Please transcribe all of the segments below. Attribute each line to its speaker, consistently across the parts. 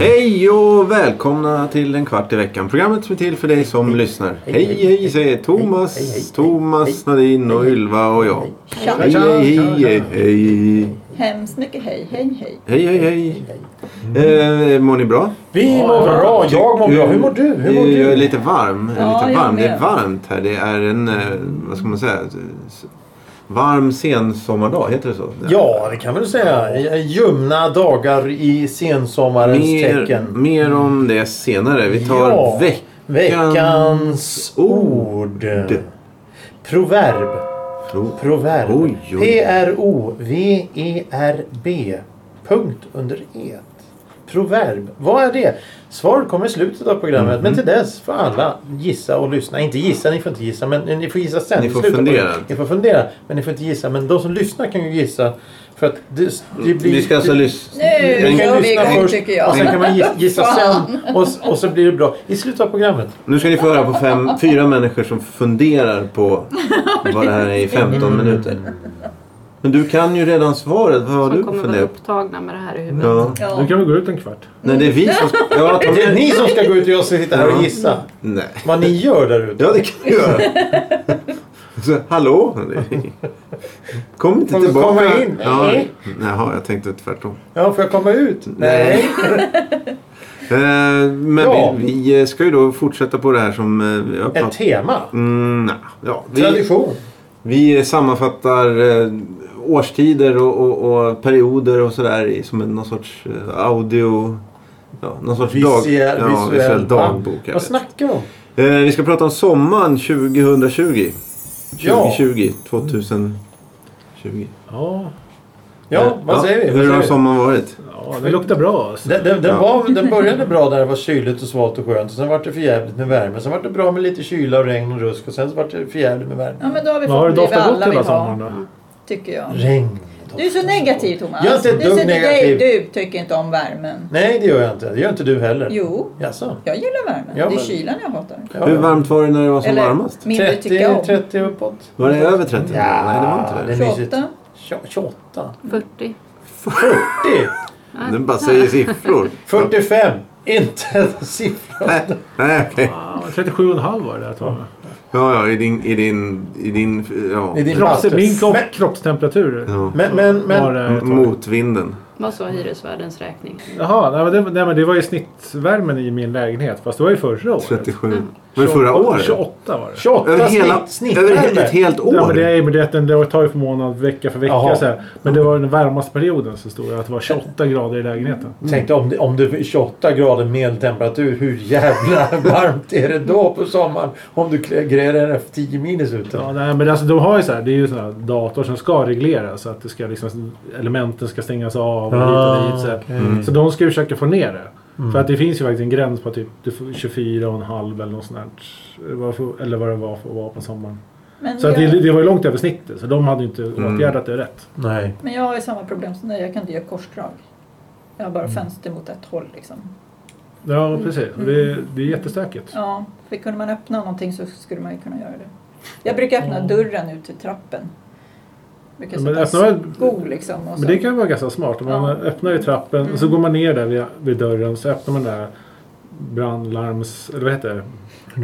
Speaker 1: Hej och välkomna till en kvart i veckan. Programmet som är till för dig som lyssnar. Hej hej säger Thomas,
Speaker 2: Hej, hej, hej.
Speaker 1: Thomas,
Speaker 2: Hej.
Speaker 1: Nadine och Ylva och jag.
Speaker 3: Tja.
Speaker 1: Hej hej hej hej.
Speaker 3: Hemskt mycket hej, hej, hej.
Speaker 1: Hej hej hej. Eh, mår ni bra?
Speaker 2: Vi mår bra, jag mår bra. Hur mår du? Hur mår
Speaker 1: Eh, Jag är
Speaker 2: du?
Speaker 1: lite varm. Jag är
Speaker 3: Ja,
Speaker 1: lite
Speaker 3: jag
Speaker 1: varm. Det är
Speaker 3: med.
Speaker 1: varmt här. Det är en, eh, vad ska man säga, s- varm sensommardag. Heter det så?
Speaker 2: Ja, det kan man väl säga. Ljumna dagar i sensommarens
Speaker 1: Mer,
Speaker 2: tecken.
Speaker 1: mer om det senare. Vi tar
Speaker 2: Ja.
Speaker 1: veckans...
Speaker 2: Veckans ord. Proverb.
Speaker 1: Pro-
Speaker 2: Proverb.
Speaker 1: Oj, oj.
Speaker 2: P-R-O-V-E-R-B. E Punkt under E. Proverb. Vad är det? Svar kommer i slutet av programmet.
Speaker 1: Mhm.
Speaker 2: Men till dess får alla gissa och lyssna. Inte gissa, ni får inte gissa. Men ni får gissa sen.
Speaker 1: Ni
Speaker 2: i
Speaker 1: får
Speaker 2: slutet av
Speaker 1: fundera.
Speaker 2: programmet. Ni får fundera. Men ni får inte gissa. Men de som lyssnar kan ju gissa. För att det, det blir...
Speaker 1: Vi ska alltså
Speaker 2: det-
Speaker 1: lyssna.
Speaker 3: Nu
Speaker 2: man
Speaker 3: kör
Speaker 2: kan
Speaker 3: vi
Speaker 2: lyssna
Speaker 3: igång,
Speaker 2: först
Speaker 3: tycker jag.
Speaker 2: och sen kan man gissa, gissa
Speaker 3: Fan.
Speaker 2: sen och, s- och så blir det bra. I slutet av programmet.
Speaker 1: Nu ska ni få höra på fem, fyra människor som funderar på vad det här är i 15 minuter. Men du kan ju redan svaret. Vad har
Speaker 4: Som
Speaker 1: du
Speaker 4: kommer vara
Speaker 1: funderat på?
Speaker 4: upptagna med det här i huvudet.
Speaker 1: Ja.
Speaker 3: Ja.
Speaker 5: Nu kan vi gå ut en kvart.
Speaker 1: Nej, det är vi som... Ja,
Speaker 2: Det är
Speaker 1: Tommy.
Speaker 2: ni som ska gå ut och jag ska sitta här och gissa.
Speaker 1: Nej.
Speaker 2: Vad ni gör där ute.
Speaker 1: Ja, det kan du göra. Så, hallå? Kom inte
Speaker 2: Får du
Speaker 1: tillbaka.
Speaker 2: komma in?
Speaker 1: Ja.
Speaker 2: Nej.
Speaker 1: Jaha, jag tänkte tvärtom.
Speaker 2: Ja, får jag komma ut?
Speaker 1: Nej. Eh, Men
Speaker 2: Ja.
Speaker 1: vi, vi eh, ska ju då fortsätta på det här som eh, vi har
Speaker 2: Ett
Speaker 1: pratat
Speaker 2: tema.
Speaker 1: Mm, nej. ja, vi,
Speaker 2: Tradition.
Speaker 1: vi sammanfattar eh, årstider och, och, och perioder och sådär i- som en, någon sorts eh, audio... Ja, någon sorts dag,
Speaker 2: Visuell,
Speaker 1: ja, visuell dagbok. jag vet.
Speaker 2: Vad snackar du om?
Speaker 1: Eh, vi ska prata om sommaren 2020.
Speaker 2: Ja.
Speaker 1: 2020. 2020.
Speaker 5: Ja,
Speaker 2: Ja, vad säger
Speaker 1: Hur har
Speaker 2: vi? Vad säger vi?
Speaker 1: sommaren varit?
Speaker 5: ja det luktar bra. alltså.
Speaker 2: Den, den, den,
Speaker 1: Ja.
Speaker 2: var, den började bra där det var kyligt och svalt och skönt. och Sen var det för jävligt med värme. Sen var det bra med lite kyla och regn och rusk. Och sen var det för jävligt med värme.
Speaker 3: ja, men då har vi
Speaker 5: Men har det
Speaker 3: fått det vi
Speaker 5: doftat gott
Speaker 3: alla vill
Speaker 5: hela
Speaker 3: ha,
Speaker 5: sommaren då?
Speaker 3: tycker jag.
Speaker 2: Regn.
Speaker 3: Du är så negativ, Thomas.
Speaker 2: Jag är inte ett
Speaker 3: du, är så-
Speaker 2: dugg negativ.
Speaker 3: Nej, du tycker inte om värmen.
Speaker 2: Nej, det gör jag inte. Det gör inte du heller.
Speaker 3: Jo,
Speaker 2: Jaså?
Speaker 3: jag gillar värmen.
Speaker 2: Ja,
Speaker 3: Det är
Speaker 2: men-
Speaker 3: kylan jag hatar.
Speaker 2: Ja.
Speaker 1: Hur varmt var det när det var som varmast?
Speaker 3: mindre tycker jag
Speaker 2: 30,
Speaker 3: om.
Speaker 2: 30 uppåt.
Speaker 1: Var det över 30?
Speaker 2: Ja,
Speaker 1: Nej, det var inte det.
Speaker 2: det-
Speaker 3: 28.
Speaker 2: Tjo- 28.
Speaker 4: 40.
Speaker 2: 40.
Speaker 1: Den bara säger siffror.
Speaker 2: 45. Inte en siffra.
Speaker 1: Nej, nej, okej.
Speaker 5: Ja, 37,5 var det där tror jag.
Speaker 1: Ja, ja, i din... I din, i din ja.
Speaker 2: I din
Speaker 5: Kropps,
Speaker 2: pastor.
Speaker 5: min kropp,
Speaker 2: Men-
Speaker 5: kroppstemperatur
Speaker 1: Ja.
Speaker 2: Men, men, men.
Speaker 5: var det. tror jag.
Speaker 1: Motvinden.
Speaker 4: Vad sa hyresvärdens räkning?
Speaker 5: Jaha, nej, men det, nej, men det var ju snittvärmen i min lägenhet. Fast det var ju förra året.
Speaker 1: 37. Var det förra året?
Speaker 5: 28 var det.
Speaker 2: 28
Speaker 1: Över hela...
Speaker 2: snitt, snitt
Speaker 1: Över he- ett helt
Speaker 5: Ja, men det
Speaker 1: år?
Speaker 5: är ju men det, är att den- det tar ju för månad, vecka för
Speaker 2: Jaha.
Speaker 5: vecka. Så här. Men det var den varmaste perioden så stod det att det var 28 grader i lägenheten.
Speaker 2: Tänk dig om det, om det är 28 grader medeltemperatur. Hur jävla varmt är det då på sommaren? Om du klä- gräver dig för 10 minus ute.
Speaker 5: Ja, nej, men alltså, de har ju så här, det är ju såna här dator som ska reglera så att det ska liksom, elementen ska stängas av och hit
Speaker 2: Ah,
Speaker 5: och dit. Så, här.
Speaker 2: Mm.
Speaker 1: Mm.
Speaker 5: så de ska ju försöka få ner det. För att det finns ju faktiskt en gräns på typ du får 24,5 eller något sånt där. Vad får- Eller vad det var för att vara på sommaren.
Speaker 3: Men,
Speaker 5: Så att det,
Speaker 3: jag,
Speaker 5: det var ju långt över snittet så de hade ju inte åtgärdat det rätt.
Speaker 2: Nej.
Speaker 3: men jag har ju samma problem som dig. Jag kan inte göra korsdrag. Jag har
Speaker 5: Mm.
Speaker 3: bara fönster mot ett håll liksom.
Speaker 5: Ja, precis. Och Det, det är jättestökigt.
Speaker 3: Ja, för kunde man öppna någonting så skulle man ju kunna göra det. Jag brukar öppna dörren ut till trappen. Brukar
Speaker 5: Mm. Ja, men
Speaker 3: sätta
Speaker 5: öppna väl-
Speaker 3: sko liksom. Och så.
Speaker 5: Men det kan ju vara ganska smart. Om man
Speaker 3: Ja.
Speaker 5: öppnar i trappen och så går man ner där vid, vid dörren så öppnar man där brandlarms... Eller vad heter det?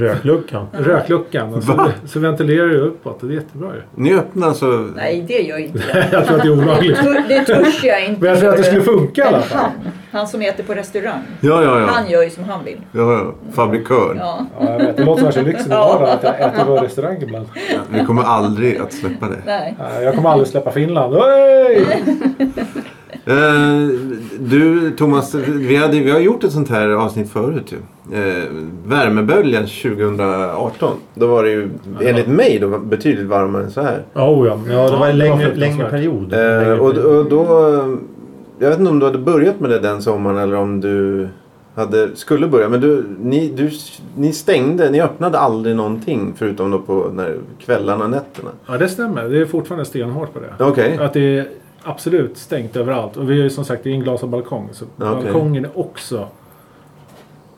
Speaker 2: Rökluckan.
Speaker 5: Rökluckan. Och så,
Speaker 1: Va?
Speaker 5: så ventilerar det uppåt och det är jättebra ju.
Speaker 1: Ni öppnar så...
Speaker 3: Nej, det gör inte jag.
Speaker 5: Jag tror att det är olagligt.
Speaker 3: Tur- Det törs jag inte.
Speaker 5: Men jag tror att det skulle
Speaker 3: göra.
Speaker 5: funka i alla fall.
Speaker 3: Han, han som äter på restaurang.
Speaker 1: Ja, ja, ja.
Speaker 3: Han gör ju som han vill.
Speaker 1: ja, ja. Fabrikör.
Speaker 3: Ja.
Speaker 5: Ja, jag vet. Det låter värsta lyxen jag har då, att jag äter på restaurang ibland.
Speaker 1: Vi kommer aldrig att släppa det.
Speaker 3: Nej.
Speaker 5: Ja, Jag kommer aldrig släppa Finland. Oj!
Speaker 1: Eh, du Thomas, vi, hade, vi har gjort ett sånt här avsnitt förut ju. Eh, värmeböljan 2018. Då var det ju enligt mig då, betydligt varmare än så här.
Speaker 5: Oh, ja.
Speaker 2: Ja, det var en längre,
Speaker 5: fruktansvärt.
Speaker 2: längre period.
Speaker 1: Eh,
Speaker 2: Längre
Speaker 1: och,
Speaker 2: period.
Speaker 1: och då... eh, Jag vet inte om du hade börjat med det den sommaren eller om du hade, skulle börja. Men du, ni, du, ni stängde, ni öppnade aldrig någonting förutom då på när, kvällarna och nätterna.
Speaker 5: Ja, det stämmer. Det är fortfarande stenhårt på det.
Speaker 1: Okej.
Speaker 5: Att det är absolut stängt överallt. Och vi är ju som sagt i en glasad balkong. Så
Speaker 1: Okej.
Speaker 5: balkongen är också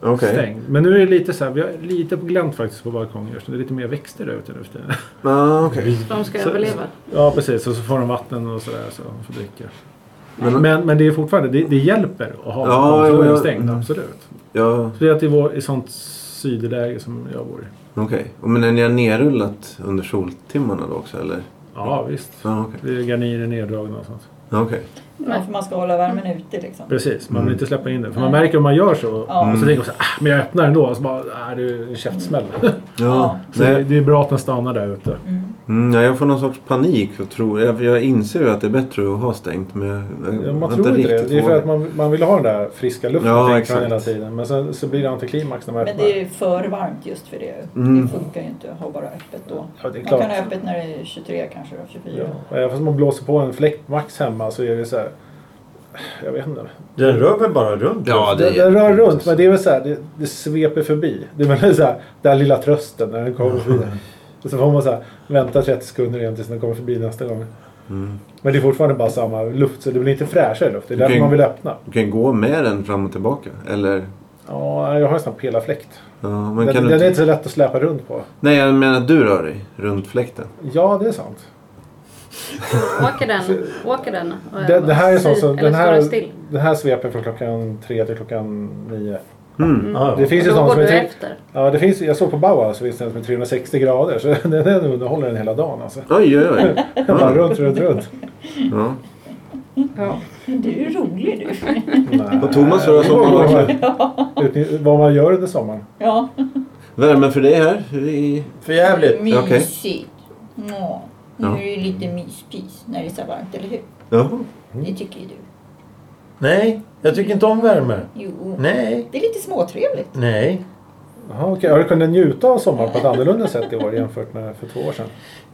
Speaker 1: Okej.
Speaker 5: stängd. Men nu är det lite så här, vi har lite på glänt faktiskt på balkongen just nu. Det är lite mer växter där ute nu för tiden.
Speaker 1: Ah, okej.
Speaker 4: De ska
Speaker 5: Mm. Så-
Speaker 4: överleva.
Speaker 5: Ja precis, och så får de vatten och sådär så de får dricka.
Speaker 1: Men-
Speaker 5: Men, men, det är fortfarande, det, det hjälper att ha
Speaker 1: Ja,
Speaker 5: balkongen
Speaker 1: ja, ja.
Speaker 5: stängd.
Speaker 1: Mm.
Speaker 5: Absolut.
Speaker 1: Ja,
Speaker 5: Speciellt i, vår, i sånt sydläge som jag bor i.
Speaker 1: okej. Och Men är ni har nerrullat under soltimmarna då också eller?
Speaker 5: Ja visst.
Speaker 1: Ja, okej.
Speaker 5: Det är garnirer neddragna och sånt.
Speaker 1: Ja, okej.
Speaker 3: Nej, för man ska hålla värmen ute liksom.
Speaker 5: Precis, man vill
Speaker 1: Mm.
Speaker 5: inte släppa in det. För man
Speaker 3: Nej.
Speaker 5: märker om man gör så.
Speaker 3: Ja.
Speaker 5: Och så tänker man så här, ah, men jag öppnar ändå. Och så bara, ah, det är en käftsmäll.
Speaker 1: Ja.
Speaker 3: Ja.
Speaker 5: så det,
Speaker 1: Nej.
Speaker 5: det är bra att den stannar där ute.
Speaker 3: Mm.
Speaker 1: Mm, ja, jag får någon sorts panik. Och tror, jag, jag inser ju att det är bättre att ha stängt. Men jag, jag
Speaker 5: Ja, man
Speaker 1: har
Speaker 5: tror inte det. Det är för
Speaker 1: vågat.
Speaker 5: att man, man vill ha den där friska luften
Speaker 1: Ja,
Speaker 5: tänker
Speaker 1: exakt.
Speaker 5: man hela tiden. Men sen så blir det antiklimax när man
Speaker 3: Men
Speaker 5: öppnar.
Speaker 3: det är ju för varmt just för det.
Speaker 1: Mm.
Speaker 3: Det funkar ju inte att ha bara öppet då.
Speaker 5: Ja, det är
Speaker 3: Man
Speaker 5: klart.
Speaker 3: kan ha öppet när det är 23 kanske då, 24.
Speaker 5: Ja. Och även fast man blåser på en fläktmax hemma så är det så här. Jag vet inte.
Speaker 2: Den rör väl bara runt?
Speaker 1: Ja,
Speaker 5: Den, den rör runt men det är väl så här. Det, det sveper förbi. Det är väl så här. Den här lilla trösten när den kommer förbi. Och så får man så här, vänta 30 sekunder igen tills den kommer förbi nästa gång.
Speaker 1: Mm.
Speaker 5: Men det är fortfarande bara samma luft så det blir inte fräschare luft. Det är
Speaker 1: Du kan
Speaker 5: därför
Speaker 1: ju-
Speaker 5: man vill öppna.
Speaker 1: Du kan gå med den fram och tillbaka. Eller?
Speaker 5: Ja, jag har en sån här pelarfläkt.
Speaker 1: Ja, men kan
Speaker 5: Den, den
Speaker 1: du
Speaker 5: är
Speaker 1: inte...
Speaker 5: inte så lätt att släpa runt på.
Speaker 1: Nej, jag menar att du rör dig runt fläkten.
Speaker 5: Ja, det är sant.
Speaker 4: Åker den? Åker den? Och
Speaker 5: Det, det här är sånt
Speaker 4: si-
Speaker 5: som...
Speaker 4: Eller
Speaker 5: Den
Speaker 4: står den
Speaker 5: här,
Speaker 4: still?
Speaker 5: den här sveper från klockan tre till klockan nio.
Speaker 1: Mm.
Speaker 4: Mm.
Speaker 2: Ja,
Speaker 5: Det finns ju
Speaker 4: Och då
Speaker 5: sånt
Speaker 4: går
Speaker 5: som är
Speaker 4: du
Speaker 5: tre-
Speaker 4: efter.
Speaker 5: Ja, det finns, jag såg på Bauhaus så finns det en som är 360 grader så den, den underhåller den hela dagen alltså.
Speaker 1: Oj, oj, oj.
Speaker 5: Den bara runt, runt, runt.
Speaker 1: Ja.
Speaker 4: Ja.
Speaker 3: Du är ju rolig du.
Speaker 5: Nej.
Speaker 1: Och Thomas rör sommaren
Speaker 5: Vad
Speaker 1: också.
Speaker 5: man- utny- Vad man gör under sommaren.
Speaker 3: Ja.
Speaker 1: Värmen för dig här? I...
Speaker 2: För jävligt.
Speaker 1: Okej.
Speaker 3: Mysigt. Ja. Nu
Speaker 1: Ja.
Speaker 3: är det ju lite myspis när det är så varmt, eller hur?
Speaker 1: Ja.
Speaker 5: Mm.
Speaker 3: Det tycker ju du.
Speaker 2: Nej, jag tycker inte om värme.
Speaker 3: Jo.
Speaker 2: Nej.
Speaker 3: Det är lite småtrevligt.
Speaker 2: Nej.
Speaker 5: Jaha, okej. Har du kunnat njuta av sommaren på ett annorlunda sätt i år jämfört med för två år sedan?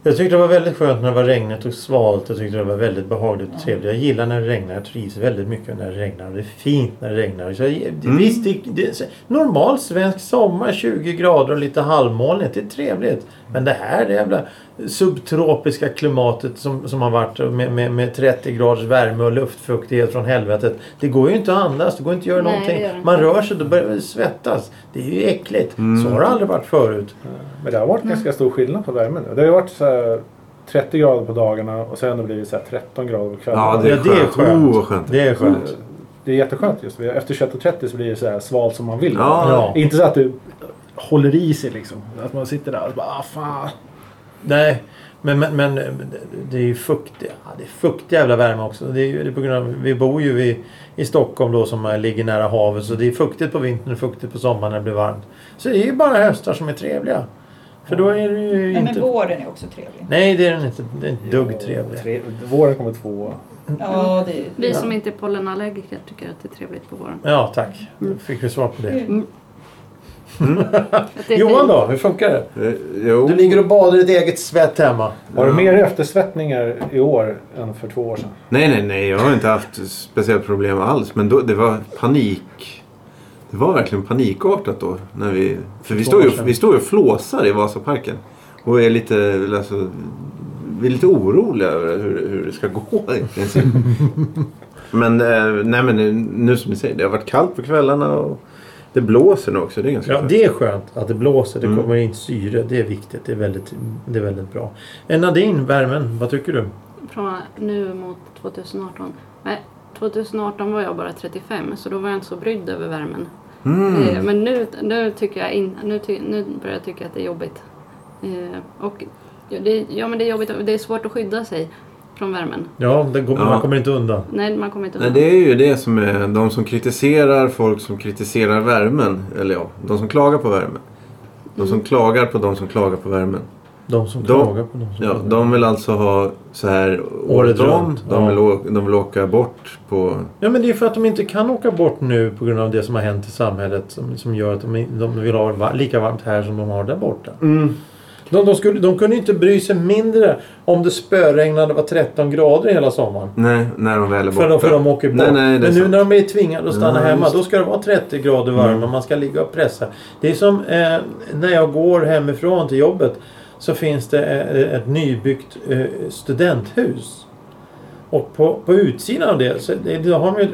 Speaker 2: Jag tyckte det var väldigt skönt när det var regnigt och svalt. Jag tyckte det var väldigt behagligt och trevligt. Jag gillar när det regnar. Jag trivs väldigt mycket när det regnar. Och Det är fint när det regnar. Så jag, det-
Speaker 1: Mm.
Speaker 2: Visst, det, det, normal svensk sommar, 20 grader och lite halvmolnigt. Det är trevligt. Men det här det jävla subtropiska klimatet som, som har varit med, med, med 30 graders värme och luftfuktighet från helvetet. Det går ju inte att andas. Det går inte att göra
Speaker 4: Nej,
Speaker 2: någonting.
Speaker 4: det gör det inte.
Speaker 2: Man rör sig, då börjar det svettas. Det är ju äckligt.
Speaker 1: Mm.
Speaker 2: Så har det aldrig varit förut.
Speaker 5: Men det har varit ganska stor skillnad på värmen nu. Det har ju varit så här 30 grader på dagarna och sen har det blivit så här 13 grader på kvällen.
Speaker 1: Ja, det är
Speaker 2: Ja, det är
Speaker 1: skönt.
Speaker 2: skönt.
Speaker 1: Oh, vad skönt.
Speaker 2: Det är skönt.
Speaker 5: Det är jätteskönt just. Efter 21.30 så blir det så här svalt som man vill.
Speaker 1: Ja.
Speaker 5: Inte så att du håller i sig liksom. Att man sitter där och bara ah, fan.
Speaker 2: Nej, men, men, men det är ju fukt. Ja, det är fuktig jävla värme också. Det är, ju- det är på grund av, vi bor ju i, i Stockholm då som ligger nära havet. Så det är fuktigt på vintern och fuktigt på sommaren när det blir varmt. Så det är ju bara höstar som är trevliga. För då är det ju
Speaker 3: Nej, men
Speaker 2: inte...
Speaker 3: våren är också trevlig.
Speaker 2: Nej, det är den inte. Det är inte dugg trevlig.
Speaker 5: Tre, våren kommer två.
Speaker 3: Ja, det är...
Speaker 4: Vi som inte är pollenallergiker tycker att det är trevligt på våren.
Speaker 2: Ja, tack. Då fick vi svar på det.
Speaker 4: Att det är
Speaker 2: Johan
Speaker 4: fint.
Speaker 2: då, hur funkar det?
Speaker 1: Eh, Jo.
Speaker 2: Du ligger och badar i ditt eget svett hemma.
Speaker 5: Har du mer eftersvettningar i år än för två år sedan?
Speaker 1: Nej, nej, nej. Jag har inte haft speciellt problem alls. Men då, det var panik. Det var verkligen panikartat då. När vi, för vi
Speaker 2: Två
Speaker 1: står, ju,
Speaker 2: år sedan.
Speaker 1: vi står ju och flåsar i Vasaparken. Och är lite, alltså, vi är lite oroliga över hur, hur det ska gå. i princip. men, eh, nej, men nu- nu som ni säger, det har varit kallt på kvällarna. Och det blåser nu också. Det är ganska
Speaker 2: Ja,
Speaker 1: skönt.
Speaker 2: det är skönt att det blåser. Det
Speaker 1: Mm.
Speaker 2: kommer in syre. Det är viktigt. Det är väldigt, det är väldigt bra. Eh, Nadine, värmen. Vad tycker du?
Speaker 4: Från nu mot 2018. Nej, 2018 var jag bara 35 så då var jag inte så brydd över värmen. Eh,
Speaker 1: Mm.
Speaker 4: Men nu, nu, tycker jag in, nu, ty, nu börjar jag tycka att det är jobbigt. Eh, och ja, det, ja, men det är jobbigt. Det är svårt att skydda sig från värmen.
Speaker 2: Ja, det går,
Speaker 1: Ja.
Speaker 2: man kommer inte undan.
Speaker 4: Nej, man kommer inte
Speaker 1: Nej,
Speaker 4: undan.
Speaker 1: det är ju det som är de som kritiserar folk som kritiserar värmen. Eller ja, de som klagar på värmen. De
Speaker 2: Mm.
Speaker 1: som klagar på de som klagar på värmen.
Speaker 2: De som
Speaker 1: De-
Speaker 2: klagar på de som
Speaker 1: Ja,
Speaker 2: klagar.
Speaker 1: de vill alltså ha så här året om.
Speaker 2: runt,
Speaker 1: De,
Speaker 2: ja.
Speaker 1: vill åka, de vill åka bort på...
Speaker 2: ja, men det är för att de inte kan åka bort nu på grund av det som har hänt i samhället som, som gör att de, de vill ha det va- lika varmt här som de har där borta. De, de, skulle, de kunde inte bry sig mindre om det spöregnade var 13 grader hela sommaren.
Speaker 1: Nej, när de väl är borta.
Speaker 2: För de, för de åker bort.
Speaker 1: Nej, nej, det är
Speaker 2: Men nu
Speaker 1: sant.
Speaker 2: när de är tvingade att stanna
Speaker 1: Ja,
Speaker 2: hemma
Speaker 1: just Mm.
Speaker 2: då ska det vara 30 grader varmt och man ska ligga och pressa. Det är som eh, när jag går hemifrån till jobbet så finns det eh, ett nybyggt eh, studenthus. Och på, på utsidan av det, så det, det har de ju,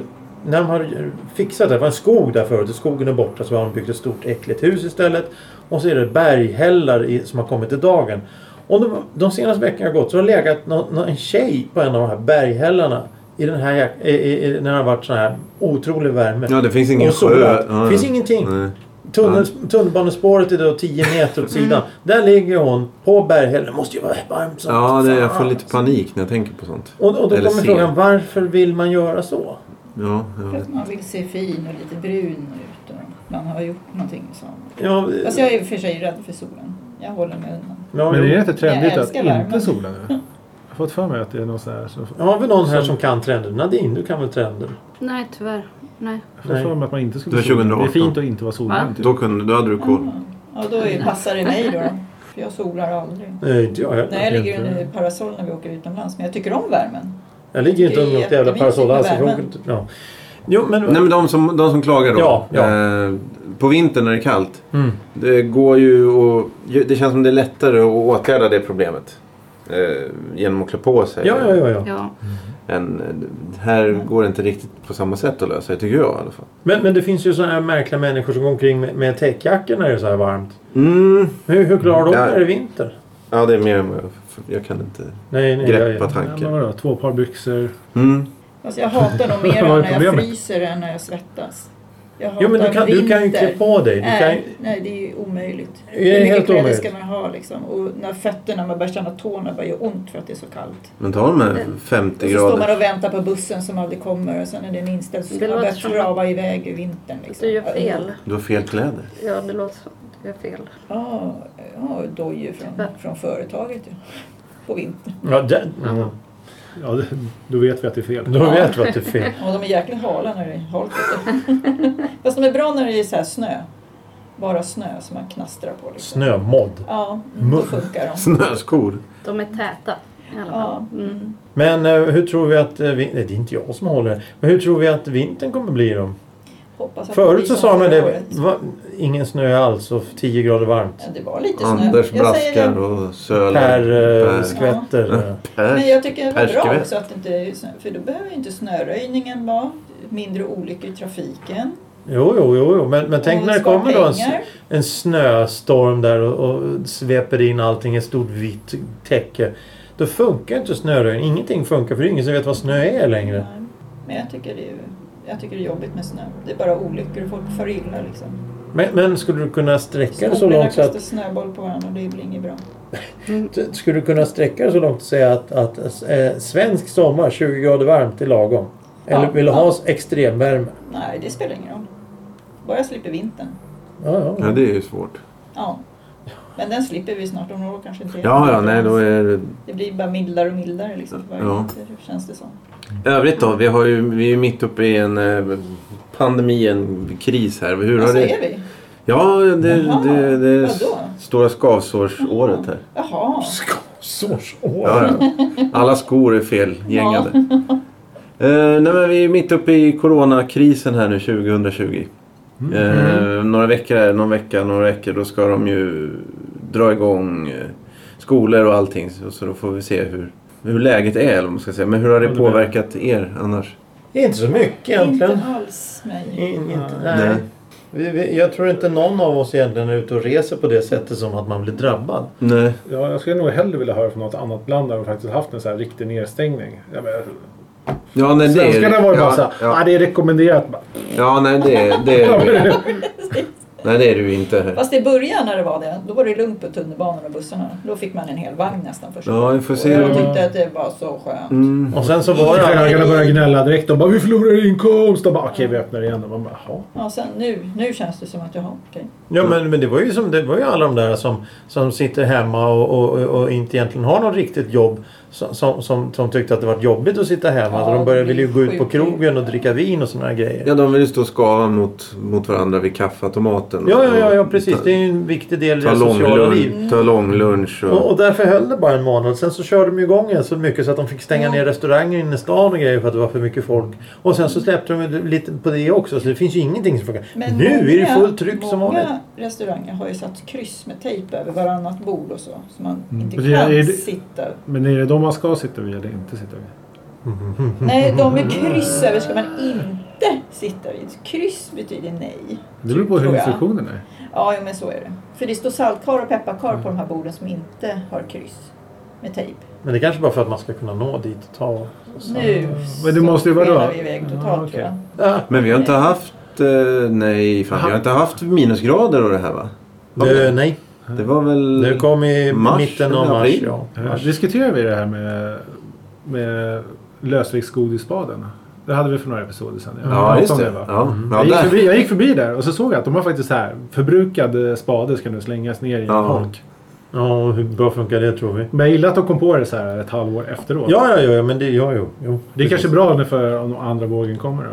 Speaker 2: när de har fixat det, det var en skog där förut, skogen är borta så har de byggt ett stort äckligt hus istället. Och så är det berghällar i, som har kommit i dagen. Och de, de senaste veckorna har gått så har det legat nå- nå- en tjej på en av de här berghällarna. I den här, jak- i, i, i, när det har varit sån här otrolig värme.
Speaker 1: Ja, det finns ingen
Speaker 2: Och solat.
Speaker 1: sjö. Ja, ja.
Speaker 2: finns ingenting.
Speaker 1: Nej.
Speaker 2: Tunnel, Tunnelbanespåret är då 10 meter åt sidan.
Speaker 1: Mm.
Speaker 2: Där ligger hon på berghällen. Det måste ju vara varmt som
Speaker 1: Ja, det, jag
Speaker 2: fan.
Speaker 1: får lite panik när jag tänker på sånt.
Speaker 2: Och, och då
Speaker 1: Eller
Speaker 2: kommer
Speaker 1: ser.
Speaker 2: frågan varför vill man göra så?
Speaker 1: Ja, jag
Speaker 3: För
Speaker 1: vet.
Speaker 3: att man vill se fin och lite brun ut och man har gjort någonting sånt.
Speaker 2: Ja,
Speaker 3: Fast Alltså, jag är i och för sig rädd för solen. Jag håller mig undan.
Speaker 2: ja,
Speaker 5: Men det är
Speaker 2: jo.
Speaker 5: inte trendigt
Speaker 3: Jag
Speaker 5: att
Speaker 3: älskar värmen.
Speaker 5: inte sola nu. Jag har fått för mig att det är någon sån här... Som,
Speaker 2: Jag har väl någon här som kan trender. Nadine, du kan väl trender?
Speaker 4: Nej, tyvärr. Nej.
Speaker 5: jag har fått för mig att man inte skulle
Speaker 1: Det var
Speaker 5: sola. Det är
Speaker 1: 2018.
Speaker 5: fint att inte vara solbränd. typ.
Speaker 1: Då, kunde, då hade du koll.
Speaker 3: Mm. Och då är, passar det mig då. För jag solar aldrig.
Speaker 2: Nej, det gör jag,
Speaker 3: Nej, jag ligger
Speaker 2: inte.
Speaker 3: under parasoll när vi åker utomlands. Men jag tycker om värmen.
Speaker 2: Jag ligger ju inte
Speaker 3: Det är
Speaker 2: under något jävla
Speaker 3: jättemysigt
Speaker 2: parasoll
Speaker 3: med
Speaker 2: alls. Jag
Speaker 3: värmen.
Speaker 2: åker inte- Ja. Jo, men...
Speaker 1: Nej, men de som, de som klagar då.
Speaker 2: Ja, ja.
Speaker 1: Eh, på vintern när det är kallt.
Speaker 2: Mm.
Speaker 1: Det går ju och, Det känns som det är lättare att åtgärda det problemet. Eh, genom att klä på sig.
Speaker 2: Ja, ja, ja, ja.
Speaker 4: Ja.
Speaker 1: Än, eh, här går det inte riktigt på samma sätt att lösa det tycker jag i alla fall.
Speaker 2: Men, men det finns ju sådana här märkliga människor som går omkring med, med täckjackor när det är så här varmt.
Speaker 1: Mm.
Speaker 2: Hur, hur klarar de
Speaker 1: Ja.
Speaker 2: när det är vinter?
Speaker 1: Ja, det är mer än vad jag... Jag kan inte
Speaker 2: Nej, nej, jag-
Speaker 1: greppa
Speaker 5: Ja, men
Speaker 1: tanken.
Speaker 5: vadå? Två par byxor.
Speaker 1: Mm.
Speaker 3: Alltså jag hatar nog mer
Speaker 5: Vad är
Speaker 3: när jag
Speaker 5: problemet?
Speaker 3: fryser än när jag svettas. Jag hatar
Speaker 2: Jo, men du kan, du kan ju
Speaker 3: vinter.
Speaker 2: klä på dig. Du kan, ju-
Speaker 3: Nej, nej, det är ju omöjligt.
Speaker 2: Är det
Speaker 3: Hur mycket
Speaker 2: helt
Speaker 3: kläder
Speaker 2: omöjligt?
Speaker 3: ska man ha liksom? Och när fötterna, man börjar känna tårna börjar göra ont för att det är så kallt.
Speaker 1: Men ta de här 50
Speaker 3: Eh, Och så står man
Speaker 1: grader.
Speaker 3: och väntar på bussen som aldrig kommer och sen är den inställd så
Speaker 4: Det
Speaker 3: ska man
Speaker 4: låter
Speaker 3: börja
Speaker 4: som-
Speaker 3: trava iväg i vintern. Liksom.
Speaker 4: Du gör fel.
Speaker 1: Du har fel kläder.
Speaker 4: Ja, det låter som att du gör fel.
Speaker 3: Ja, ja dojor från, från företaget ju. På vintern.
Speaker 2: ja, det, ja.
Speaker 5: Ja, det, då vet vi att det är fel.
Speaker 2: Då vet du att det är fel.
Speaker 3: Och de är jäkligt hala när det är halt ute. Fast de är bra när det är så här snö. Bara snö som man knastrar på. Liksom.
Speaker 2: Snömodd.
Speaker 3: Ja, mm,
Speaker 2: Mu-
Speaker 3: då funkar de.
Speaker 1: Snöskor.
Speaker 4: De är täta i alla fall.
Speaker 3: Ja.
Speaker 4: Mm.
Speaker 2: Men eh, hur tror vi att... Eh, vi, nej, det är inte jag som håller det. Men hur tror vi att vintern kommer bli då?
Speaker 3: Hoppas att det blir
Speaker 2: Förut så
Speaker 3: som
Speaker 2: sa
Speaker 3: förra
Speaker 2: man det.
Speaker 3: året.
Speaker 2: Va, ingen snö alls och 10 grader varmt.
Speaker 3: Ja, det var lite snö.
Speaker 1: Anders
Speaker 3: Jag säger det.
Speaker 1: braskar och sölar.
Speaker 2: Per eh,
Speaker 1: Per.
Speaker 2: skvätter. eh.
Speaker 3: Men jag tycker det var bra
Speaker 1: Perskvätt.
Speaker 3: också att det inte är snö, för då behöver ju inte snöröjningen vara mindre olyckor i trafiken.
Speaker 2: Jo, jo, jo, jo. Men, men tänk
Speaker 3: Och
Speaker 2: när det
Speaker 3: spara
Speaker 2: kommer då en, s-
Speaker 3: pengar.
Speaker 2: en snöstorm där och, och sveper in allting i ett stort vitt täcke. Då funkar ju inte snöröjning. Ingenting funkar för det är ingen som vet vad snö är längre.
Speaker 3: Nej. Men jag tycker, det är, jag tycker det är jobbigt med snö. Det är bara olyckor och folk far illa liksom.
Speaker 2: Men, men skulle du kunna sträcka det så
Speaker 3: Skolorna
Speaker 2: långt så
Speaker 3: kastar
Speaker 2: att
Speaker 3: snöboll på varandra och det blir inget bra.
Speaker 2: T- Skulle du kunna sträcka dig så långt och säga att, att eh, svensk sommar, 20 grader varmt, är lagom? Eller
Speaker 3: Ja,
Speaker 2: vill du
Speaker 3: ja.
Speaker 2: ha extremvärme?
Speaker 3: Nej, det spelar ingen roll. Bara jag slipper vintern.
Speaker 2: Ja,
Speaker 1: Ja,
Speaker 2: ja.
Speaker 1: det är ju svårt.
Speaker 3: Ja. Men den slipper vi snart om några år kanske inte.
Speaker 1: Ja, ja, nej då är det...
Speaker 3: Det blir bara mildare och mildare liksom. för varje
Speaker 1: Ja.
Speaker 3: vinter, Känns det som.
Speaker 1: Övrigt då, vi, har ju, vi är ju mitt uppe i en eh, pandemi, en kris här. Hur har
Speaker 3: Vad
Speaker 1: det...
Speaker 3: säger vi?
Speaker 1: Ja, det,
Speaker 3: Jaha,
Speaker 1: det, det är
Speaker 3: vadå?
Speaker 1: stora skavsårsåret här.
Speaker 3: Jaha.
Speaker 2: Sårsår!
Speaker 1: Ja, ja. Alla skor är felgängade. Eh, nej, men vi är mitt uppe i coronakrisen här nu 2020.
Speaker 5: Mm.
Speaker 1: Eh, några veckor här, någon vecka, några veckor. Då ska de ju dra igång eh, skolor och allting. Så, så då får vi se hur, hur läget är. Eller vad man ska säga. Men hur har
Speaker 5: Ja,
Speaker 1: det
Speaker 5: det blir-
Speaker 1: påverkat er annars?
Speaker 2: Det är inte så mycket egentligen.
Speaker 3: Inte alls mig.
Speaker 2: In, inte,
Speaker 5: Nej.
Speaker 2: nej. Vi, vi, jag tror inte någon av oss egentligen är ute och reser på det sättet som att man blir drabbad.
Speaker 1: Nej.
Speaker 5: Ja, jag skulle nog hellre vilja höra från något annat land där de faktiskt haft en så här riktig nedstängning. Jag menar,
Speaker 1: Ja, nej, det är-
Speaker 5: Svenskarna var ju bara
Speaker 1: ja,
Speaker 5: såhär, ja.
Speaker 1: Ja,
Speaker 5: ah, det är rekommenderat. Bara,
Speaker 1: ja, nej det är det. Är, nej, det är du inte. Här.
Speaker 3: Fast i början när det var det, då var det lugnt på tunnelbanan och bussarna. Då fick man en hel vagn nästan första
Speaker 1: Ja, vi får
Speaker 3: Och
Speaker 1: se.
Speaker 3: jag tyckte att det var så skönt.
Speaker 1: Mm.
Speaker 2: Och sen så var det...
Speaker 5: Krögarna började gnälla direkt. De bara, vi förlorar inkomst. De bara, okej vi öppnar igen. Och man bara, jaha.
Speaker 3: Ja, sen nu, nu känns det som att jag har okej.
Speaker 2: Ja, men, men det, var ju som, det var ju alla de där som, som sitter hemma och, och, och- och inte egentligen har något riktigt jobb. Som, som, som, som tyckte att det var jobbigt att sitta hemma.
Speaker 3: Ja,
Speaker 2: så de började,
Speaker 3: det blir
Speaker 2: ville ju gå ut på
Speaker 3: sjukt.
Speaker 2: krogen och dricka vin och såna här grejer.
Speaker 1: Ja, de vill ju stå och skava mot, mot varandra vid kaffeautomaten.
Speaker 2: Ja, ja, ja, ja
Speaker 1: Och
Speaker 2: precis.
Speaker 1: ta-
Speaker 2: Det är ju en viktig del i
Speaker 1: Ta
Speaker 2: det
Speaker 1: lång,
Speaker 2: sociala liv.
Speaker 1: lunch, ta lång lunch och...
Speaker 2: Och, och därför höll det bara en månad. Sen så körde de ju igång igen så mycket så att de fick stänga
Speaker 3: Ja.
Speaker 2: ner restauranger inne i stan och grejer för att det var för mycket folk. Och sen så släppte de ju lite på det också så det finns ju ingenting som funkar.
Speaker 3: Mm. Men
Speaker 2: nu är det
Speaker 3: många-
Speaker 2: fullt tryck som vanligt.
Speaker 3: Många restauranger har ju satt kryss med tejp över varannat bord och så. Så man inte
Speaker 5: Men det är-
Speaker 3: kan
Speaker 5: är det-
Speaker 3: sitta.
Speaker 5: Men är det de man ska sitta vid eller inte sitta vid?
Speaker 3: Nej, de med kryss över ska man inte sitta vid. Kryss betyder nej.
Speaker 5: Det beror på hur
Speaker 3: tror jag.
Speaker 5: instruktionen är.
Speaker 3: Ja, jo, men så är det. För det står saltkar och pepparkar på de här borden som inte har kryss med tejp.
Speaker 2: Men det kanske bara för att man ska kunna nå dit och ta...
Speaker 3: Nu
Speaker 5: Men det måste ju vara
Speaker 3: skenar
Speaker 5: då.
Speaker 3: vi iväg totalt
Speaker 5: Ja, okej.
Speaker 3: tror jag.
Speaker 2: Ah,
Speaker 1: Men vi har inte haft... Eh, nej, fan, vi har inte haft minusgrader och det här va?
Speaker 2: det, nej,
Speaker 1: Det var väl...
Speaker 2: det kom i
Speaker 1: Mars
Speaker 2: mitten av
Speaker 1: eller
Speaker 2: mars.
Speaker 1: april?
Speaker 2: Ja.
Speaker 5: Eh, Diskuterar vi det här med, med lösviktsgodisspaden? Det hade vi för några episoder sedan. Jag pratade
Speaker 1: Ja,
Speaker 5: om
Speaker 1: just det.
Speaker 5: va?
Speaker 1: Ja. Ja,
Speaker 5: jag, gick
Speaker 1: där.
Speaker 5: förbi, jag gick förbi där och så såg jag att de har faktiskt så här förbrukade spade ska nu slängas ner i en
Speaker 1: Ja.
Speaker 5: holk.
Speaker 2: ja, hur bra funkar det tror vi?
Speaker 5: Men jag gillar att de kom på det så här ett halvår efteråt.
Speaker 2: Ja, ja, ja, men det... Ja, jo. jo
Speaker 5: Det är kanske bra nu för om andra vågen kommer då.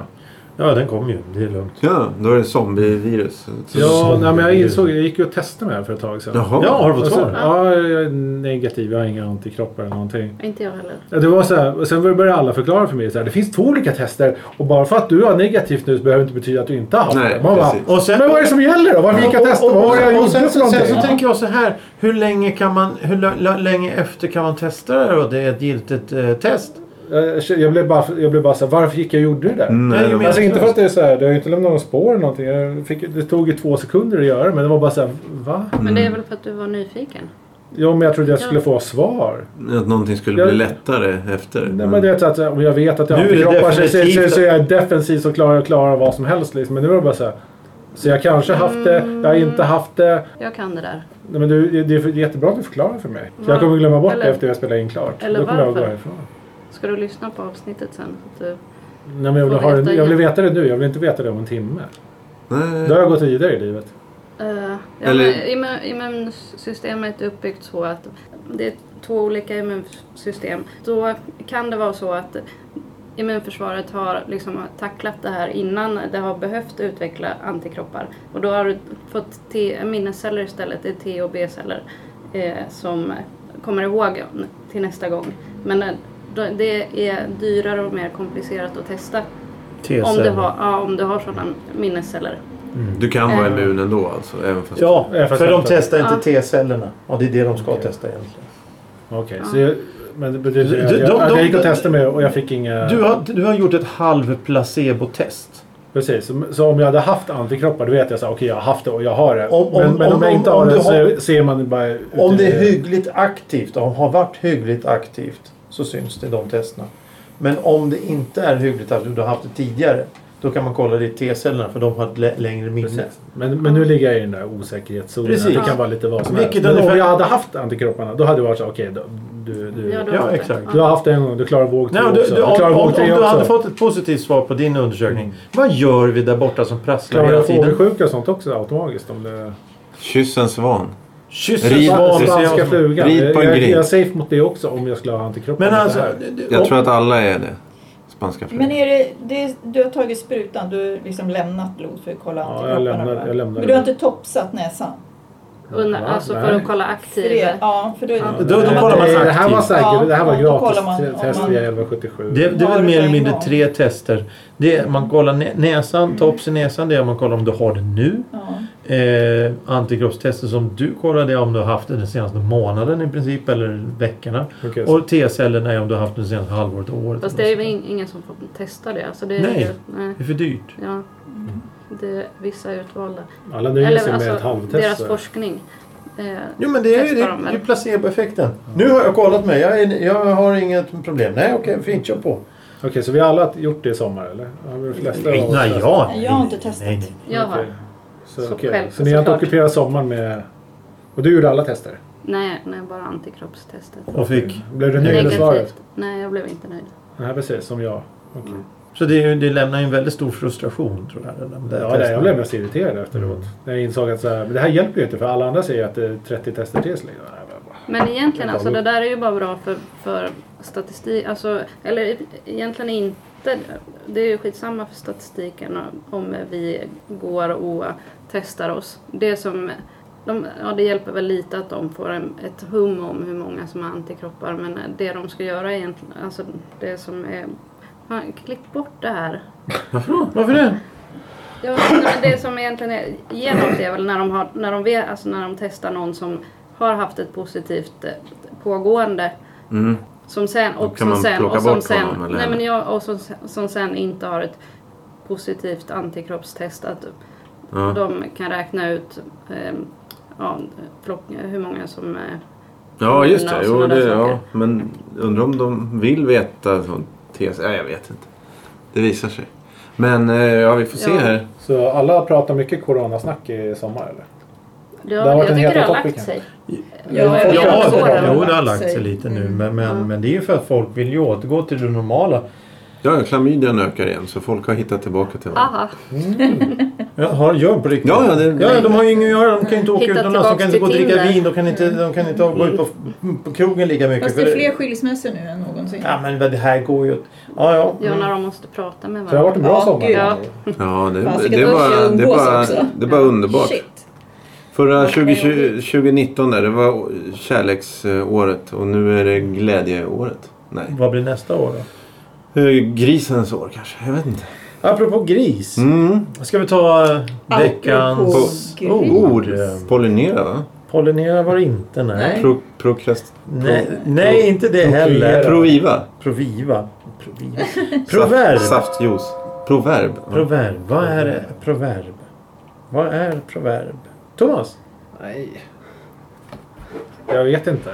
Speaker 2: Ja, den kom ju. Det är lugnt.
Speaker 1: Ja, då är det zombievirus. Så-
Speaker 5: Ja, nej, men jag insåg, jag gick ju och testade mig här för ett tag sedan.
Speaker 1: Jaha.
Speaker 2: Ja, har du
Speaker 5: Och
Speaker 2: fått
Speaker 5: så,
Speaker 2: svar?
Speaker 5: ja, jag är negativ. Jag har inga antikroppar eller någonting.
Speaker 4: Inte jag heller.
Speaker 5: Ja, det var så här, och sen började alla förklara för mig så här, det finns två olika tester och bara för att du har negativt nu så behöver det inte betyda att du inte har haft
Speaker 1: Nej,
Speaker 5: det. Man bara,
Speaker 1: precis.
Speaker 2: Och sen...
Speaker 5: men vad är det som gäller då? Vad vilka tester? Vad har jag
Speaker 2: och, och,
Speaker 5: gjort
Speaker 2: sen,
Speaker 5: för
Speaker 2: sen,
Speaker 5: någonting?
Speaker 2: så tänker jag så här. Hur länge, kan man, hur l- l- länge efter kan man testa det här då? Det är ett giltigt eh, test.
Speaker 5: jag, jag blev bara, jag blev bara så här, varför gick jag och gjorde det där?
Speaker 1: Nej,
Speaker 2: Nej,
Speaker 1: de-
Speaker 2: men-
Speaker 5: Alltså inte för att det är så här, det har ju inte lämnat några spår eller någonting. Jag fick, det tog ju två sekunder att göra det, men det var bara så här, va?
Speaker 1: Mm.
Speaker 4: Men det är väl för att du var nyfiken?
Speaker 5: Jo, men jag trodde jag skulle få svar.
Speaker 1: Att någonting skulle
Speaker 5: Jag-
Speaker 1: bli lättare efter.
Speaker 5: Nej, men det är så att om jag vet att jag
Speaker 2: Mm. Nu är det
Speaker 5: antikroppar så, så, så,
Speaker 2: definitivt-
Speaker 5: så jag är defensiv så klarar jag klarar vad som helst. Liksom. Men nu var det bara så här, så jag kanske haft det, jag har inte haft det.
Speaker 4: Jag kan det där.
Speaker 5: Nej, men du, det är jättebra att du förklarar för mig. För
Speaker 4: Ja.
Speaker 5: jag kommer glömma bort det
Speaker 4: Eller-
Speaker 5: efter jag spelar in klart.
Speaker 4: eller
Speaker 5: Då kommer jag
Speaker 4: varför?
Speaker 5: gå härifrån.
Speaker 4: Ska du lyssna på avsnittet sen? Så att du...
Speaker 5: Nej, men jag, vill
Speaker 4: Får
Speaker 5: ha det,
Speaker 4: veta
Speaker 5: jag vill
Speaker 4: igen.
Speaker 5: veta det nu, jag vill inte veta det om en timme.
Speaker 1: Nej.
Speaker 5: Då har jag gått vidare i livet.
Speaker 4: Eh, ja,
Speaker 1: Eller-
Speaker 4: men immun- immunsystemet är uppbyggt så att det är två olika immunsystem. Då kan det vara så att immunförsvaret har liksom tacklat det här innan det har behövt utveckla antikroppar. Och då har du fått T- minnesceller istället, det är T och B-celler eh, som kommer ihåg till nästa gång. Men eh, då- det är dyrare och mer komplicerat att testa om du har, ja, om du har sådana minnesceller.
Speaker 1: Du kan vara
Speaker 4: Eh.
Speaker 1: immun ändå alltså? Även fast...
Speaker 2: Ja,
Speaker 5: Ja, fast
Speaker 2: för de
Speaker 5: vänta.
Speaker 2: testar inte
Speaker 4: Ja.
Speaker 2: T-cellerna. Och det är det de ska testa egentligen.
Speaker 5: Okej, så jag, men det betyder
Speaker 2: Du-
Speaker 5: att
Speaker 2: de-
Speaker 5: jag,
Speaker 2: de-
Speaker 5: att jag gick och
Speaker 2: de-
Speaker 5: testade mig och jag fick inga...
Speaker 2: Du har, du har gjort ett halv placebo-test.
Speaker 5: Precis, så- så om jag hade haft antikroppar då vet jag så här, okej jag har haft det och jag har det.
Speaker 2: Om- om-
Speaker 5: men men om,
Speaker 2: om-
Speaker 5: jag inte
Speaker 2: om-
Speaker 5: har
Speaker 2: om
Speaker 5: det
Speaker 2: du
Speaker 5: så
Speaker 2: har-
Speaker 5: ser man bara... ut
Speaker 2: Om
Speaker 5: i-
Speaker 2: det är hyggligt aktivt, om har varit hyggligt aktivt, så syns det i de testerna. Men om det inte är hyggligt aktivt, du har haft det tidigare, då kan man kolla det i T-cellerna för de har ett lä- längre minne.
Speaker 5: Precis. Men, men nu ligger jag i den där osäkerhetszonen.
Speaker 2: Precis.
Speaker 5: Det kan vara lite vad som
Speaker 2: Vilket
Speaker 5: helst. Men
Speaker 2: ungefär-
Speaker 5: om jag hade haft antikropparna då hade det varit så här, okej då- du, du,
Speaker 4: Ja, du har
Speaker 2: Ja,
Speaker 4: fått det.
Speaker 2: exakt.
Speaker 5: du har haft det en gång, du klarar våg
Speaker 2: Nej,
Speaker 5: tre
Speaker 2: om
Speaker 5: också.
Speaker 2: du, du,
Speaker 5: Du
Speaker 2: om,
Speaker 5: klarar
Speaker 2: om, om
Speaker 5: våg tre
Speaker 2: du hade
Speaker 5: också.
Speaker 2: fått ett positivt svar på din undersökning,
Speaker 5: Mm.
Speaker 2: vad gör vi där borta som prasslar
Speaker 5: Klarar
Speaker 2: hela
Speaker 5: jag
Speaker 2: tiden?
Speaker 5: fågelsjuka och sånt också automatiskt? Om det...
Speaker 1: Kyss en svan.
Speaker 2: Kyss en
Speaker 1: Rid-
Speaker 2: svan,
Speaker 1: Rid-
Speaker 2: danska
Speaker 5: Spanska
Speaker 2: flugan.
Speaker 5: flugan.
Speaker 1: Rid på en
Speaker 5: jag, jag
Speaker 1: grej.
Speaker 5: är safe mot det också om jag skulle ha antikroppar.
Speaker 2: Men
Speaker 5: mot det
Speaker 2: alltså...
Speaker 5: här.
Speaker 1: Jag tror att alla är det. Spanska flugan.
Speaker 3: Men är det, det, du har tagit sprutan, du har liksom lämnat blod för att kolla
Speaker 5: Ja, jag
Speaker 3: antikropparna?
Speaker 5: lämnar-
Speaker 3: va?
Speaker 5: jag lämnar
Speaker 3: Men du har
Speaker 5: det.
Speaker 3: inte topsat näsan?
Speaker 4: Undrar,
Speaker 5: Va?
Speaker 4: alltså för
Speaker 5: Nej.
Speaker 4: att kolla
Speaker 3: För det,
Speaker 4: aktiv.
Speaker 3: ja, för då,
Speaker 4: Ja.
Speaker 2: Då- då kollar man
Speaker 5: Nej, det här
Speaker 2: aktivt.
Speaker 5: var säkert,
Speaker 3: Ja,
Speaker 5: det här var
Speaker 3: då kollar
Speaker 5: gratis
Speaker 3: man om
Speaker 5: test
Speaker 3: man-
Speaker 5: via 1177.
Speaker 2: Det, det är
Speaker 3: Har
Speaker 2: väl
Speaker 3: du
Speaker 2: mer
Speaker 3: det
Speaker 2: eller
Speaker 3: en
Speaker 2: mindre
Speaker 3: gång?
Speaker 2: tre tester. Det är, man kollar nä- näsan, tops i näsan, det är om man kollar om du har det nu.
Speaker 3: Ja.
Speaker 2: Eh, antikroppstester som du kollar det är om du har haft det den senaste månaden i princip, eller veckorna.
Speaker 5: Okej, så-
Speaker 2: Och T-cellerna är om du har haft det senaste halvåret och året.
Speaker 4: Fast det är ju in- ingen som får testa det. Alltså det är
Speaker 2: Nej.
Speaker 4: Ju, nej.
Speaker 2: Det är för dyrt.
Speaker 4: Ja. Det är vissa utvalda. alltså,
Speaker 5: Alla nöjer sig med ett halvtest.
Speaker 4: deras
Speaker 5: så.
Speaker 4: forskning. Eh,
Speaker 2: Jo men det är ju
Speaker 4: Testar
Speaker 2: det,
Speaker 4: de
Speaker 2: är
Speaker 4: väl?
Speaker 2: ju placeboeffekten. Nu har jag kollat mig. Jag, är, jag har inget problem. Nej okej, fint. Kör på.
Speaker 5: Okej, så vi har alla gjort det i sommar eller? Ja, de flesta av oss
Speaker 2: Nej,
Speaker 5: testat.
Speaker 2: jag,
Speaker 3: Nej, jag har inte testat.
Speaker 2: Nej, nej.
Speaker 4: jag
Speaker 5: Okej.
Speaker 4: har.
Speaker 5: Så,
Speaker 4: Så
Speaker 5: okej.
Speaker 4: själv-
Speaker 5: så ni har inte
Speaker 4: såklart.
Speaker 5: ockuperat sommaren med... Och du gjorde alla tester?
Speaker 4: Nej, nej, bara antikroppstestet.
Speaker 2: Och fick.
Speaker 5: Blev du nöjd med svaret?
Speaker 4: Nej, jag blev inte nöjd.
Speaker 5: Nej, precis. Som jag. Okej.
Speaker 2: Så det, är ju- det lämnar ju en väldigt stor frustration tror jag. de där
Speaker 5: Ja, det,
Speaker 2: testerna.
Speaker 5: jag blev mest irriterad efteråt.
Speaker 2: Mm.
Speaker 5: När jag insåg att så här, men det här hjälper ju inte för alla andra säger ju att det är 30 tester till. Så länge. Nej, men bara-
Speaker 4: Men egentligen,
Speaker 5: Ja,
Speaker 4: alltså,
Speaker 5: då-
Speaker 4: det där är ju bara bra för, för statistik. Alltså, eller e- egentligen inte. Det är ju skitsamma för statistiken om vi går och testar oss. Det som de, ja, det hjälper väl lite att de får en, ett hum om hur många som har antikroppar men det de ska göra egentligen, alltså det som är... Fan, klick bort det här.
Speaker 2: Varför det?
Speaker 4: Ja, nej, men det som egentligen är genom det är väl när de, har, när, de vet, alltså när de testar någon som har haft ett positivt eh, pågående
Speaker 1: Mm.
Speaker 4: Som sen,
Speaker 1: Då
Speaker 4: och
Speaker 1: kan
Speaker 4: som
Speaker 1: man
Speaker 4: sen,
Speaker 1: plocka
Speaker 4: och som
Speaker 1: bort
Speaker 4: sen,
Speaker 1: honom, eller?
Speaker 4: nej, men jag, och som, sen- som sen inte har ett positivt antikroppstest. Att
Speaker 1: Ja.
Speaker 4: de kan räkna ut ehm, ja, plock, hur många som... Eh,
Speaker 1: Ja, just det.
Speaker 4: och
Speaker 1: Jo,
Speaker 4: sådana
Speaker 1: det
Speaker 4: där
Speaker 1: ja.
Speaker 4: saker.
Speaker 1: Men undrar om de vill veta sån tes. Ja, jag vet inte. Det visar sig. Men eh, ja, vi får se
Speaker 4: Ja.
Speaker 1: här.
Speaker 5: Så alla pratar mycket coronasnack i sommar eller?
Speaker 4: det
Speaker 5: Det har
Speaker 4: har,
Speaker 5: varit
Speaker 4: jag
Speaker 5: en
Speaker 4: tycker det
Speaker 5: het
Speaker 4: har lagt
Speaker 5: topic.
Speaker 4: sig.
Speaker 3: Ja,
Speaker 5: Ja,
Speaker 3: jag
Speaker 5: ja,
Speaker 3: har
Speaker 5: det-
Speaker 3: svårare att
Speaker 2: Jo, det har
Speaker 3: hålla
Speaker 2: lagt sig lite nu.
Speaker 3: Mm.
Speaker 2: Men, men,
Speaker 4: Ja.
Speaker 2: men det är ju för att folk vill ju återgå till det normala.
Speaker 1: Ja, klamydian ökar igen så folk har hittat tillbaka till varandra.
Speaker 4: Aha,
Speaker 2: Mm. Ja, har, gör de på riktigt?
Speaker 1: Ja, ja, det-
Speaker 2: ja, de har ju inget att göra. De kan ju
Speaker 3: Mm.
Speaker 2: inte åka
Speaker 4: Hitta
Speaker 2: utomlands. De kan inte gå och
Speaker 4: tillbaks till
Speaker 2: dricka
Speaker 4: Tinder.
Speaker 2: vin. De kan inte, de kan inte gå ut på, på krogen lika mycket.
Speaker 3: Mm. Fast det
Speaker 2: för
Speaker 3: är fler skilsmässor nu än någonsin.
Speaker 2: Ja, men vad det här går ju åt... Ja, ja.
Speaker 4: ja, när de måste prata med
Speaker 5: Mm. Så det har varit en
Speaker 4: varandra.
Speaker 5: bra
Speaker 3: Ja,
Speaker 5: sommar.
Speaker 3: gud,
Speaker 4: ja.
Speaker 1: Ja, det,
Speaker 3: Fan,
Speaker 1: det,
Speaker 3: vilket
Speaker 1: var,
Speaker 3: umgås
Speaker 1: det, var,
Speaker 3: också.
Speaker 1: det var underbart.
Speaker 3: Shit.
Speaker 1: Förra
Speaker 3: Vad kan jag
Speaker 1: 2020,
Speaker 3: bli?
Speaker 1: 2019 där, det var kärleksåret och nu är det glädjeåret. Nej.
Speaker 2: Vad blir nästa år då?
Speaker 1: Eh, Grisens år kanske, jag vet inte.
Speaker 2: Apropå gris.
Speaker 1: Mm.
Speaker 2: Ska vi ta eh, veckans
Speaker 3: gris.
Speaker 1: Ord.
Speaker 2: ord?
Speaker 1: Pollinera va?
Speaker 2: Pollinera var det inte, nej.
Speaker 3: Nej.
Speaker 1: Pro, prokrast...
Speaker 2: Nej, nej inte det heller.
Speaker 1: Proviva.
Speaker 2: Proviva. Proviva.
Speaker 1: Saft,
Speaker 2: Proverb.
Speaker 1: saftjuice. Proverb. Ja.
Speaker 2: Proverb. Vad är proverb? Vad är proverb? Thomas?
Speaker 5: Nej. Jag vet inte.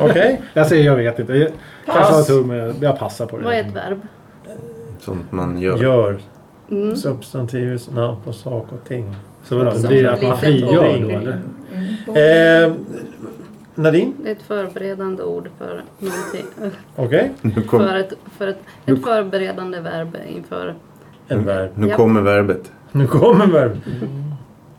Speaker 2: Okej?
Speaker 5: Jag säger jag vet inte. Jag, kanske har
Speaker 2: Pass.
Speaker 5: tur med, jag passar på det.
Speaker 4: Vad är ett verb?
Speaker 1: Sånt man gör.
Speaker 2: Gör.
Speaker 4: Mm.
Speaker 2: Substantivus, namn på sak och ting.
Speaker 5: Så vadå, det blir det att man frigör då eller?
Speaker 3: Mm.
Speaker 2: Eh, Nadine?
Speaker 4: Det är ett förberedande ord för någonting.
Speaker 2: Okej.
Speaker 1: Nu, kom,
Speaker 4: För ett, för ett, ett förberedande verb inför...
Speaker 2: En verb.
Speaker 1: nu
Speaker 4: Ja.
Speaker 1: kommer verbet.
Speaker 2: Nu kommer verb.
Speaker 3: Mm.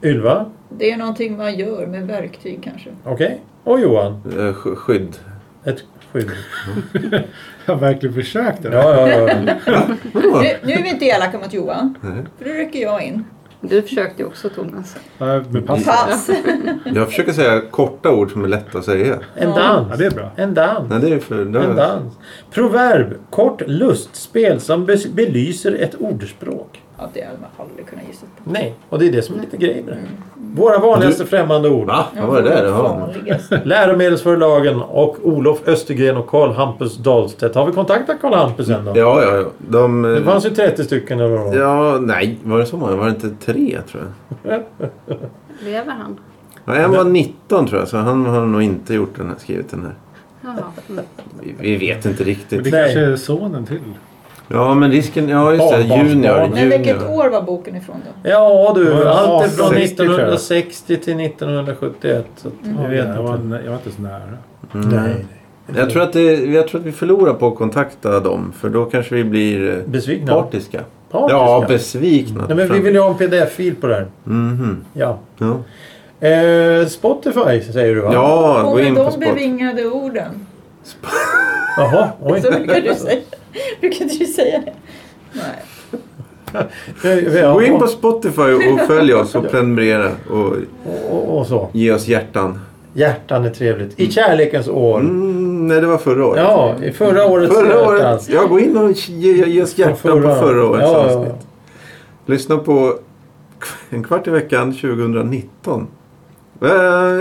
Speaker 2: Ylva?
Speaker 3: Det är någonting man gör med verktyg kanske.
Speaker 2: Okej. Och Johan?
Speaker 1: Eh, sk- Skydd.
Speaker 2: Ett skydd.
Speaker 5: Jag har verkligen försökt. Det.
Speaker 2: Ja, ja, ja.
Speaker 1: Ja.
Speaker 3: Nu, nu är vi inte elaka mot Johan,
Speaker 1: Nej.
Speaker 3: för då rycker jag in.
Speaker 4: Du försökte ju också Thomas.
Speaker 5: Ja, men pass.
Speaker 3: Pass!
Speaker 1: Jag försöker säga korta ord som är lätta att säga.
Speaker 2: En
Speaker 5: Ja,
Speaker 3: Ja.
Speaker 2: dans.
Speaker 5: det är bra.
Speaker 2: En dans.
Speaker 1: Nej, det är för...
Speaker 2: En
Speaker 1: Där,
Speaker 2: dans. Proverb. Kort lustspel som be- belyser ett ordspråk.
Speaker 3: Ja, det hade man aldrig kunnat gissa på.
Speaker 2: Nej, och det är det som är lite grejen med det här. Våra vanligaste främmande ord.
Speaker 1: va? Vad var det där? Ja.
Speaker 3: Vanligaste.
Speaker 2: Läromedelsförlagen och Olof Östergren och Carl Hampus Dahlstedt. Har vi kontaktat Carl Hampus än då?
Speaker 1: Ja, ja, ja. De...
Speaker 2: Det
Speaker 1: eh,
Speaker 2: fanns ju 30 stycken eller vad det var.
Speaker 1: Ja, nej. Var det så många? Var det inte tre, tror jag?
Speaker 4: Lever han?
Speaker 1: Ja, en var 19, tror jag. Så han har nog inte gjort den här, skrivit den här.
Speaker 4: Jaha. Mm.
Speaker 1: Vi, vi vet inte
Speaker 5: Men det
Speaker 1: riktigt.
Speaker 2: Nej.
Speaker 5: kanske är sonen till.
Speaker 1: Ja, men risken... Ja, just det.
Speaker 2: Barnbarnsbarn.
Speaker 1: Junior.
Speaker 3: Men vilket
Speaker 1: junior.
Speaker 3: år var boken ifrån då?
Speaker 2: Ja du,
Speaker 5: Ja,
Speaker 2: allt är från
Speaker 5: 60, tror jag.
Speaker 2: 1960 till 1971. Så att vi vet
Speaker 5: jag, var,
Speaker 2: inte.
Speaker 5: jag var inte så nära.
Speaker 2: Nej.
Speaker 1: Jag tror, att det, jag tror att vi förlorar på att kontakta dem. För då kanske vi blir eh,
Speaker 2: Besvikna?
Speaker 1: partiska.
Speaker 2: Partiska?
Speaker 1: Ja, besvikna.
Speaker 2: Nej men vi vill ju ha en pdf-fil på det här.
Speaker 1: Mhm.
Speaker 2: Ja.
Speaker 1: Ja,
Speaker 2: Eh, Spotify säger du va?
Speaker 1: ja
Speaker 3: Och
Speaker 1: gå in
Speaker 3: med
Speaker 1: på
Speaker 3: de
Speaker 1: sport.
Speaker 3: bevingade orden.
Speaker 2: Jaha, oj.
Speaker 3: Så brukar du säga. Brukar inte du säga det? Nej.
Speaker 2: Ja,
Speaker 1: Gå in på Spotify och följ oss och prenumerera och
Speaker 2: och, och, och så.
Speaker 1: ge oss hjärtan.
Speaker 2: Hjärtan är trevligt. I kärlekens år.
Speaker 1: Mm, nej, det var förra året.
Speaker 2: Ja, i förra årets
Speaker 1: förra året.
Speaker 2: hjärtans.
Speaker 1: Ja, gå in och ge, ge oss hjärtan på förra årets
Speaker 2: Ja, ja, ja.
Speaker 1: avsnitt. Lyssna på K- En kvart i veckan 2019. Eh,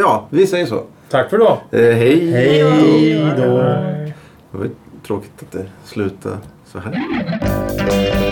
Speaker 1: ja, vi säger så.
Speaker 2: Tack för då.
Speaker 1: Eh, hej.
Speaker 2: Hej då.
Speaker 1: Det var ju tråkigt att det slutade så här.
Speaker 5: Hej.